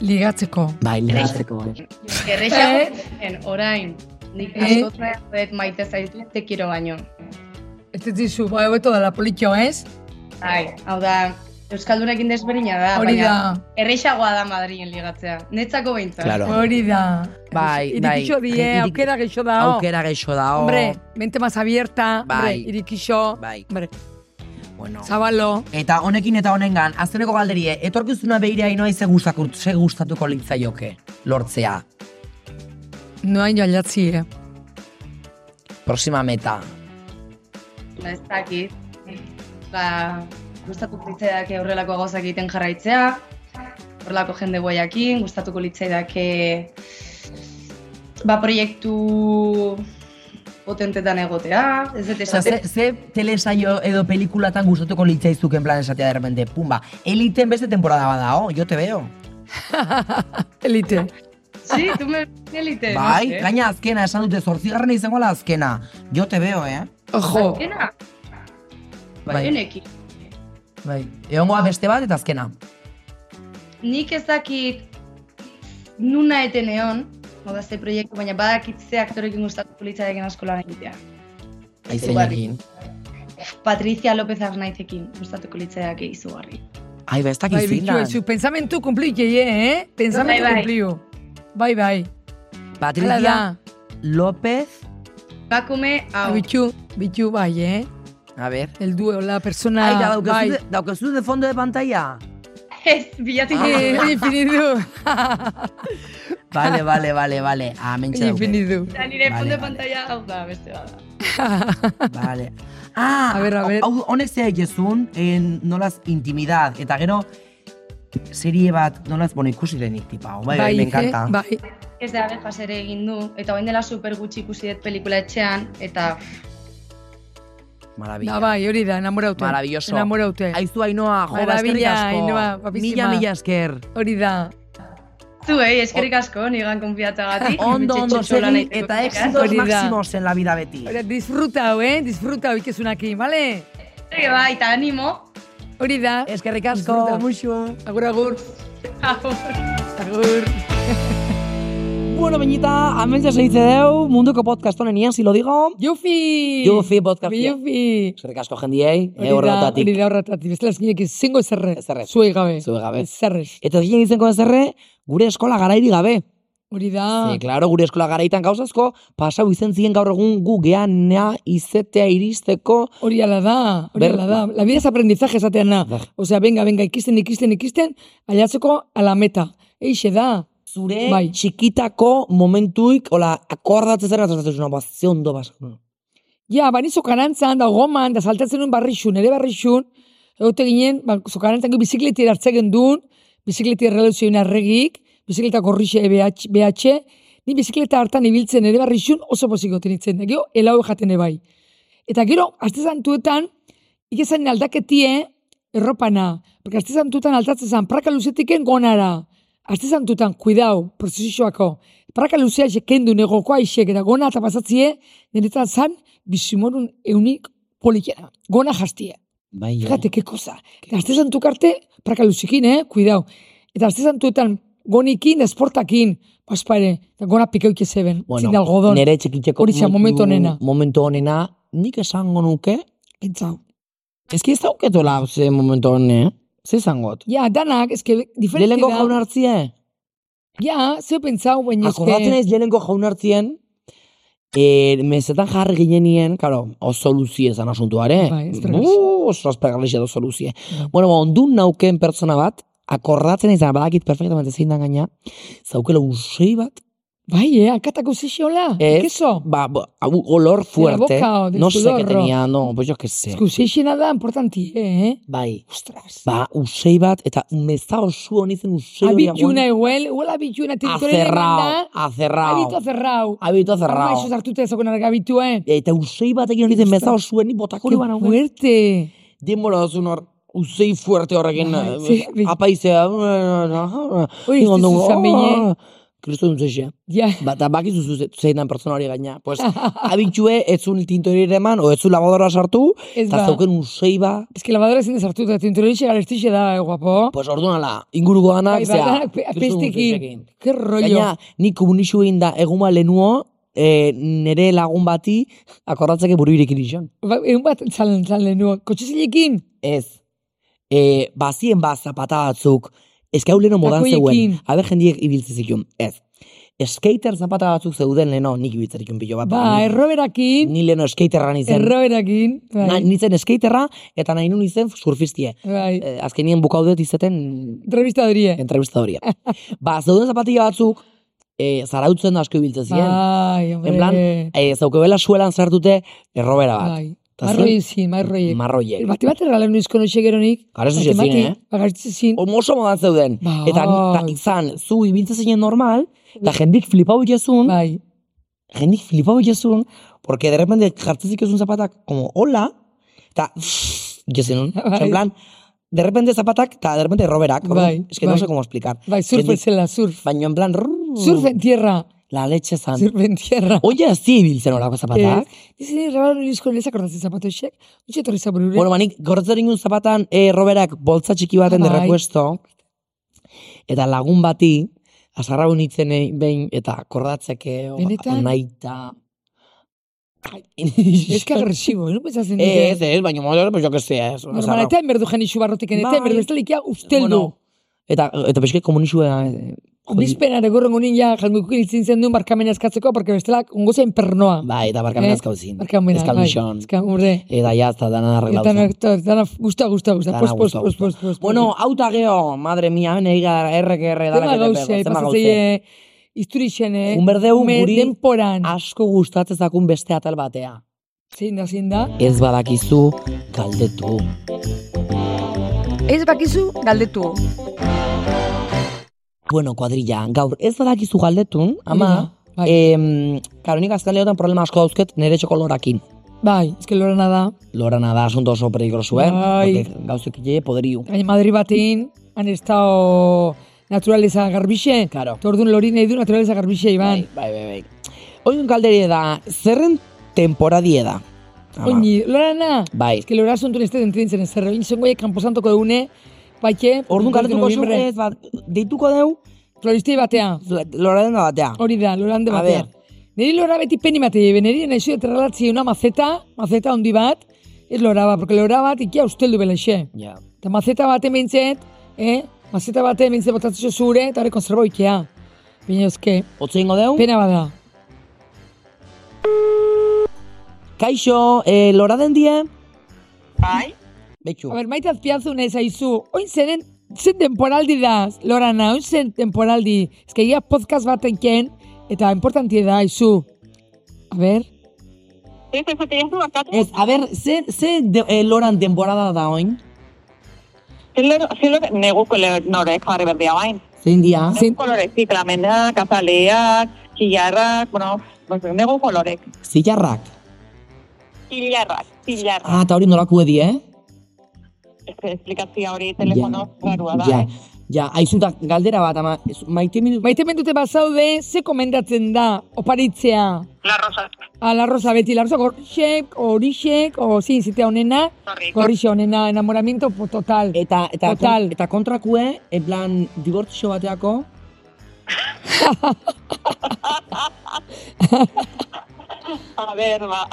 S2: Ligatzeko.
S7: Bai, lehatzeko. bai.
S4: Errexago
S2: Eh?
S4: zen, orain. Nik
S2: Eh?
S4: askotra dut maite zaitu, te kiro baino.
S2: Ez ez dizu, bai, hobeto dela politxo, ez?
S4: Bai, hau da, Euskaldunekin desberdina da,
S2: Hori da.
S4: errexagoa da Madrilen ligatzea. Netzako behintzat.
S3: Claro.
S2: Hori da.
S3: Bai, bai.
S2: Irikixo die,
S3: Irik-
S2: aukera geixo da.
S3: Aukera geixo da.
S2: Hombre, mente más abierta.
S3: Bai.
S2: Hombre, irikixo.
S3: Bai.
S2: Hombre,
S3: Bueno.
S2: zabalo.
S3: Eta honekin eta honengan, azkeneko galderie, etorkizuna behirea inoiz ze gustakur- ze gustatuko litzaioke, lortzea,
S2: Noain joan jatzi, eh?
S3: proxima meta.
S4: Ba, ez dakit. Ba, gustatuko litzaidake horrelako gauzak egiten jarraitzea, horrelako jende guaiakin, gustatuko litzaidake ba proiektu potentetan egotea, ez dut
S5: Osa,
S4: esaten.
S5: ze, ze telesaio edo pelikulatan gustatuko litzaizuk en plan esatea de repente, pumba, eliten beste temporada badao, yo te veo.
S2: Elite.
S4: Sí, tu me elite.
S5: bai,
S4: Eh, no sé.
S5: gaina azkena, esan dute, zortzigarren izango la azkena. Yo te veo, eh?
S2: Ojo.
S4: Azkena?
S5: Bai.
S4: Bai, eneki.
S5: Bai, egongoa beste bat eta azkena.
S4: Bai, Nik ez dakit nuna eten egon, hau da ze proiektu, baina badakit ze aktorekin gustatuko litzaidaken asko lan egitea. bai.
S5: Aizenekin.
S4: Patricia López Arnaizekin gustatuko litzaidake izugarri.
S3: Ai, ba, ez dakit
S2: Bai,
S3: zein
S2: bitu,
S3: dan.
S2: ez, pensamentu kumpliu, jeie, eh? Pensamentu
S4: Bai, bai.
S2: kumpliu. Bai, bai. Hala da.
S5: Patricia López,
S4: Bakume, hau.
S2: Bitu, bitu, bai, eh?
S3: A ber.
S2: El duo, la persona...
S3: Ai, da,
S2: bai.
S3: daukazu de- daukazu de fondo de pantalla.
S4: Ez, bilatik
S5: Ah,
S2: Eh, infinitu.
S5: Vale, vale, vale, vale. Amentxe dauke.
S2: Infinitu.
S4: Eta nire
S5: Vale,
S4: fondo
S5: vale.
S4: pantalla hau da, beste bada.
S5: Vale. Ah,
S2: A ber, a ber.
S5: hau- Honek zea egizun, en, nolaz eh, intimidad. Eta gero, serie bat, nolaz, bueno, ikusi denik tipa. hau, Bai, bai, me
S2: eh,
S5: encanta.
S2: Bai,
S4: Ez da, abejas ere egin du, eta orain dela super gutxi ikusi dut pelikula etxean, eta
S5: Maravilla.
S2: da, bai, hori da, enamoraute.
S3: Maravilloso.
S2: Enamoraute.
S3: Aizu Ainhoa, jo, ba, eskerrik
S2: Maravilla,
S3: asko.
S2: Ainhoa, guapísima.
S3: Mila, mila esker.
S2: Hori da.
S4: zu, eh, eskerrik asko, nigan konfiatzagatik.
S5: Ondo, ondo,
S4: Bitxetxotxo lan
S5: segi
S4: egiteko
S5: eta
S4: kideak.
S5: éxitos
S2: Hori da.
S5: máximos en la vida beti.
S2: Hori da, disfruta, hau, eh? Disfruta, hau ikezunakin, bale?
S4: Ege bai, eta animo.
S2: Hori da.
S5: Eskerrik
S2: Disfruta.
S5: asko. Muxu.
S2: Agur, agur. Agur.
S3: Bueno, beñita, amentxe segitze deu, munduko podcast honen ian, si lo digo.
S2: Yufi!
S3: Yufi
S5: pues,
S3: podcastia.
S2: Yufi!
S3: Eskerrik asko jendiei,
S2: Hori
S3: eh,
S2: da,
S3: horretatik.
S2: Hori da horretatik. Bestela eskinek ezingo ezerre.
S3: Ezerrez.
S2: Zuei gabe.
S3: Zuei gabe.
S2: Ezerrez.
S3: Eta egin izenko ezerre, gure eskola garairi gabe.
S2: Hori da.
S3: Ze, klaro, gure eskola garaitan gauzazko, pasau izen ziren gaur egun gu geana izetea iristeko.
S2: Hori ala da. Hori
S3: Ber-
S2: ala da. La vida es aprendizaje esatean na.
S3: Bai.
S2: Osea, venga, venga, ikisten, ikisten, ikisten, ailatzeko ala meta. Eixe da.
S3: Zure
S2: Bai.
S3: txikitako momentuik, hola, akordatzen zer gertatzen zuen, ba, ze ondo basa.
S2: Ja, ba, bani zokarantzan, da goman, da saltatzen nuen barrixun, ere barrixun, egote ginen, ba, zokarantzanko bizikleti hartzen gendun, bizikleti erreluzioen arregik, bizikleta korrixe BH, BH, ni bizikleta hartan ibiltzen ere barrixun oso pozikoten itzen, da gero, elau jaten ebai. Eta gero, azte zantuetan, ikezan aldaketie erropana, porque azte zantuetan altatzen zan, praka luzetiken gonara, azte zantuetan, kuidau, prozesixoako, praka luzea kendu negokoa isek, eta gona eta pasatzie, niretan zan, bizimorun eunik polikena, gona jastie.
S3: Bai, eh.
S2: Fíjate, qué cosa. Eta azte zantuk arte, praka luzikin, eh, kuidau. Eta azte zantuetan, gonikin, esportakin, paspare, eta gona pikeuke zeben, bueno, zin algodon.
S3: nere txikiteko
S2: Horixe, momentu onena.
S3: Momentu onena, nik esango nuke,
S2: Pentsau.
S3: eski ez dauketola ze momentu hone, eh? ze zangot?
S2: Ja, danak, eske, diferente
S3: Lehenengo
S2: da.
S3: jaun eh? hartzie,
S2: Ja, zeo pentsau, baina
S3: akordatzen ez lehenengo jaun hartzien, e, mezetan jarri ginenien, karo, oso luzie esan asuntuare.
S2: Bai, ez da
S3: Bu, oso aspergarrixia da oso luzie.
S2: Bai.
S3: Bueno, ba, ondun nauken pertsona bat, akordatzen ez da, badakit perfectamente zein dan gaina, zaukela usei bat,
S2: Bai, eh, akatako zixiola.
S3: Ez.
S2: Keso.
S3: ba, ba, hau olor fuerte,
S2: boca o del
S3: no sé que
S2: sudor, ro.
S3: tenía, no, pues yo que sé.
S2: Eskuziexena da, importanti, eh?
S3: Bai,
S2: Ostras.
S3: ba, usei bat, eta meza osu honi zen usei hori
S2: Abitxuna, igual, igual abitxuna, tintorei
S3: Azerrao,
S2: demanda. Abito
S3: azerrao,
S2: zerrau.
S3: abito
S2: Armaixo
S3: azerrao.
S2: zartuta ezakon arga abituen.
S3: Eta usei batekin honi zen meza osuen ni botako
S2: Qué
S3: hori baina hori.
S2: fuerte.
S3: Denbora dozun hor, usei fuerte horrekin, eh,
S2: Bai, sí, bi-
S3: apaizea. eh,
S2: Oi, ez
S3: Ingon eh, dugu, oh,
S2: duzu zan bine.
S3: Kristo dut Ba, zexea.
S2: Ja,
S3: Bata bakizu zu- zein dan pertsona hori gaina. Pues, abitxue, etzun tintori ere eman, o etzun lavadora sartu,
S2: ez
S3: eta
S2: ba.
S3: zauken usei ba.
S2: Ez que lavadora ezin da sartuta, tintorerixe garestixe da, eh, guapo.
S3: Pues orduan ala, inguruko
S2: Bai,
S3: ganak,
S2: ba,
S3: zea.
S2: danak pe-
S3: kristo dut
S2: apestekin.
S3: zexekin.
S2: Ke rollo.
S3: Gaina, nik komunixu egin da egun bat lehenuo, e, nere lagun bati akordatzeke buru irekin izan.
S2: Ba, Egun bat, txalen, txalen, nua. Kotxezilekin.
S3: Ez. E, bazien bat zapata batzuk, eskau leheno modan
S2: Takoiekin.
S3: zeuen, abe jendiek ibiltzen zikun. Ez. Skater zapata batzuk zeuden leheno nik ibiltzen zikun pilo bat.
S2: Ba,
S3: Ah, ni-
S2: erroberakin.
S3: Ni leheno skaterra nintzen.
S2: Erroberakin.
S3: Na,
S2: Bai,
S3: nintzen skaterra eta nahi nun izen surfistie.
S2: bai.
S3: E, azkenien bukaudet izaten
S2: Entrevista eh. dorie.
S3: entrevista hori. ba, zeuden zapatila batzuk, e, zarautzen asko ibiltzen ziren.
S2: Bai, hombre.
S3: En plan, e, zaukebela suelan sartute errobera bat.
S2: Bai.
S3: Ta
S2: Marroi
S3: zuen?
S2: zin, marroiek.
S3: Marroiek.
S2: Bati bat erralen nuizko noixe geronik.
S3: Gareztu
S2: bati
S3: zezin,
S2: bati,
S3: eh?
S2: ba, gareztu zezin.
S3: Homo oso modan zeuden.
S2: Ba,
S3: Eta, ni- ta,
S2: bai.
S3: izan, zu ibiltzen zinen normal, eta jendik flipau ikazun,
S2: Bai.
S3: jendik flipau ikazun, porque de repente jartzen zikizun zapatak, como, hola, eta, ikazin nun.
S2: Bai.
S3: Osa, en plan, de repente zapatak, eta de repente roberak.
S2: Bai,
S3: Es que no
S2: bai.
S3: sé cómo explicar.
S2: Bai, surfen
S3: Jendik-
S2: zela, surf.
S3: Baina, en plan,
S2: Surf en tierra.
S3: la leche zan.
S2: Surf en tierra. Eh,
S3: Oia, zi ibiltzen horako zapatak.
S2: Dizin erralen nuizko noixe akordatzen zapatoixek. Utsi etorri eh? zaburure.
S3: Bueno, manik, gorretzen ingun zapatan, e, Roberak boltza txiki baten de
S2: Bai.
S3: repuesto, eta lagun bati, azarra honitzen behin, eta akordatzek, eh, o-
S2: Benetan?
S3: naita... Ai,
S2: Es que agresivo, eh? no pensatzen dute.
S3: ba- Eh, Ez, ez, baina modu, pues, jo que sé, ez. azarrau.
S2: Normaletan berdu jan isu barrotik eta
S3: Ba, Bai.
S2: berdu ez delikia usteldu.
S3: Bueno, eta, eta peske komunizua... eh, jodi-
S2: Bizpenare gorrengo nila jangukukin itzin zen duen barkamena eskatzeko, porque bestelak ongo zen pernoa.
S3: Bai, eta barkamen
S2: Eh,
S3: azkauzin.
S2: Barkamena, bai.
S3: Ezkaldixon.
S2: Ezkan, hombre.
S3: Eta ja, eta dana arreglauzen.
S2: Eta nekto, eta na, gusta, gusta, gusta.
S3: Dana
S2: Post, post,
S3: gusta,
S2: post,
S3: gusta.
S2: post, post.
S3: Bueno, auta geo, madre mia, bene, iga, errekerre, dala
S2: zema
S3: que te pego,
S2: gauze,
S3: zema gauze.
S2: pasatzei izturixen, eh?
S3: Un berdeu
S2: ume
S3: guri- Ah.
S2: Denporan.
S3: Mm. asko gustatzen zakun beste atal batea.
S2: Zein da, zein da.
S3: Ez badakizu, galdetu.
S2: Ez bakizu, galdetu.
S3: Bueno, kuadrilla, gaur ez badakizu galdetun, ama,
S2: Hori da, bai.
S3: em, karo, nik azken lehotan problema asko dauzket nire txoko lorakin.
S2: Bai, ez que lorana da.
S3: Lorana da asunto oso peligroso, eh?
S2: Bai.
S3: Porque Gauzek je poderiu.
S2: Gaina Madri batein, han estao naturaleza garbixe.
S3: Claro.
S2: Tordun lori nahi du naturaleza garbixe, Iban.
S3: Bai, bai, bai, bai. Oin galderi da, zerren temporadie da. Ama.
S2: Oñi, lorana.
S3: Bai.
S2: Ez que lora asuntu neste dentritzen ez zerro. Inizan goiek kanposantoko egune, baike...
S3: Orduan galdetuko zu,
S2: noviembre.
S3: ez, bat, deituko deu,
S2: Floristei batea.
S3: loraren da batea.
S2: Hori da, lorande
S3: A
S2: batea. Neri lora beti peni bate, neri nahi terralatzi una maceta, maceta handi bat, ez lora bat, porque lora bat ikia usteldu belexe.
S3: Ja.
S2: Eta maceta baten behintzet, eh? Maceta baten behintzet botatzeko zure, eta hori konserbo ikea. Baina euske,
S3: Otze ingo deu?
S2: pena bada.
S3: Kaixo, eh, lora den die?
S8: Bai,
S3: Betxu.
S2: A ber, maite azpiazun ez aizu, oin zeren, zen temporaldi da, Lorana, oin zen temporaldi. Ez que ia podcast batenken, eta importantie da aizu. A ber,
S8: ez ez ez bakatu,
S3: Ez, a ber, ze, ze de, eh, loran denborada da oin?
S8: zelero, zelero, neguko norek jarri berdia bain.
S3: Zein dia?
S2: Zein-
S8: Zein kolorek, ziklamenak, azaleak, kilarrak, bueno, pues, negu kolorek.
S3: Zilarrak.
S8: Kilarrak, kilarrak.
S3: Ah, eta hori nolako edi, eh?
S8: Ez que esplikazioa hori telefono garua da.
S3: Ja,
S8: eh?
S3: ja, aizuta, galdera bat, ama, ez- maite minutu...
S2: maite mendute bazaude, ze komendatzen da, oparitzea.
S8: La rosa,
S2: A la rosa beti, la rosa gorrixek, orixek, o zin, zitea honena,
S8: sorry.
S2: gorrixe honena, enamoramiento po- total.
S3: Eta, eta,
S2: Total.
S3: eta kontrakue, en plan, dibortzio bateako...
S8: A ver, va.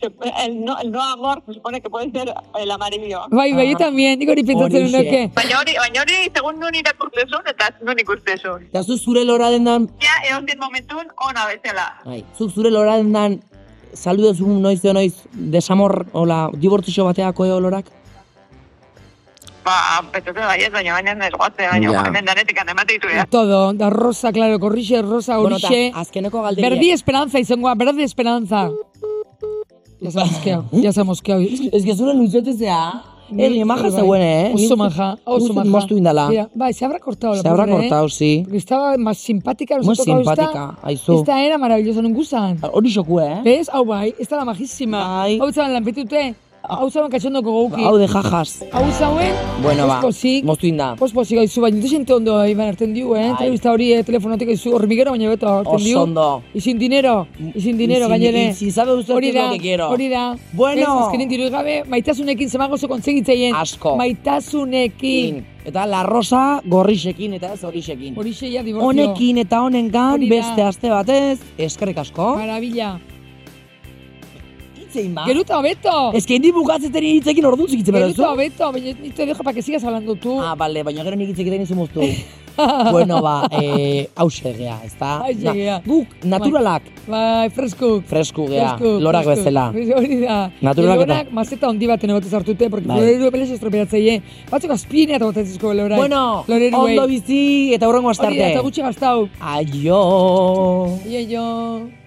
S8: Se- El no, el no amor se supone que puede ser el amarillo.
S2: Bai, bai,
S3: Ah,
S2: yo también, nik hori pentsatzen
S3: horixe.
S2: nuke.
S8: Baina hori, baina hori, segun nun irakurlezun eta nun ikustezun.
S3: Eta zu zure lora dendan...
S8: Ja, egon dit momentun ona bezala.
S3: Ai, zu zure lora dendan... Saludo zu noiz de noiz, desamor, hola, dibortzio bateako eo lorak?
S8: Ba, pentsatzen baiet, baina baina ez guazte, baina
S3: Ja.
S8: hemen danetik anemate ditu, eh?
S2: Todo, da rosa, claro, gorrixe, rosa,
S3: Bueno, eta
S2: orixe.
S3: azkeneko galderi...
S2: Verdi Esperanza izangoa, Verdi Esperanza. Ya se ha mosqueado, ya se ha mosqueado.
S3: Ez que zure luzetu zea... Erri, maja
S2: Bai,
S3: zeuen, eh?
S2: Oso maja, oso maja.
S3: Mostu indala.
S2: Mira, bai, se habrá cortado la
S3: Se habrá
S2: pobre, eh?
S3: cortado, sí.
S2: Porque estaba más simpática. nos
S3: Muy
S2: ha tocado esta-
S3: simpática, aizu.
S2: Esta era maravillosa, non gustan.
S3: Hori xoku, eh?
S2: Bez, hau bai, ez da majísima.
S3: Bai.
S2: Hau zauen lanpetute, hau zauen katxondoko gauki.
S3: Hau de jajas.
S2: Hau zauen,
S3: Bueno,
S2: Pues
S3: ba,
S2: Pospozik.
S3: moztu inda.
S2: pospozik gaizu, baina dute gente ondo iban harten diu, eh?
S3: Bai.
S2: Entrevista hori eh, telefonotik gaizu, hormigero baina beto harten diu.
S3: Oso ondo.
S2: Y sin dinero, y sin dinero,
S3: Y sin-
S2: gainere.
S3: y si sabe usted
S2: Hori
S3: qué es
S2: da,
S3: lo que quiero.
S2: Hori da.
S3: Bueno.
S2: Ez, azkenin diru gabe, maitasunekin zemago oso kontzegitzeien.
S3: Asko.
S2: Maitasunekin.
S3: In. Eta la rosa gorrixekin eta ez horixekin.
S2: Horixe ja diborzio.
S3: Honekin eta honengan
S2: Hori da.
S3: beste aste batez, eskerrik asko.
S2: Marabila.
S3: Hitzein ba.
S2: Geruta hobeto.
S3: Ez que hindi bukatzeteri hitzekin ordu zikitzen bera
S2: Geruta hobeto, baina ni te dejo para que sigas hablando tú.
S3: Ah, bale, baina gero nik hitzekin egin moztu. bueno, ba, eh, hause gea, ez da?
S2: Hauxe gea.
S3: Guk, naturalak,
S2: Bai, freskuk.
S3: fresku gea,
S2: Fresku,
S3: lorak
S2: fresku.
S3: bezala.
S2: Hori da.
S3: Naturalak eta-
S2: Lorak mazeta handi baten egote zartute, porque
S3: Bai.
S2: floreru epelez estropeatzaie. Batzuk azpinea eta botatzizko lorak.
S3: Bueno,
S2: Loreru
S3: ondo bizi eta hurrengo astarte.
S2: Hori da, eta gutxi gaztau.
S3: Aio.
S2: Ieio.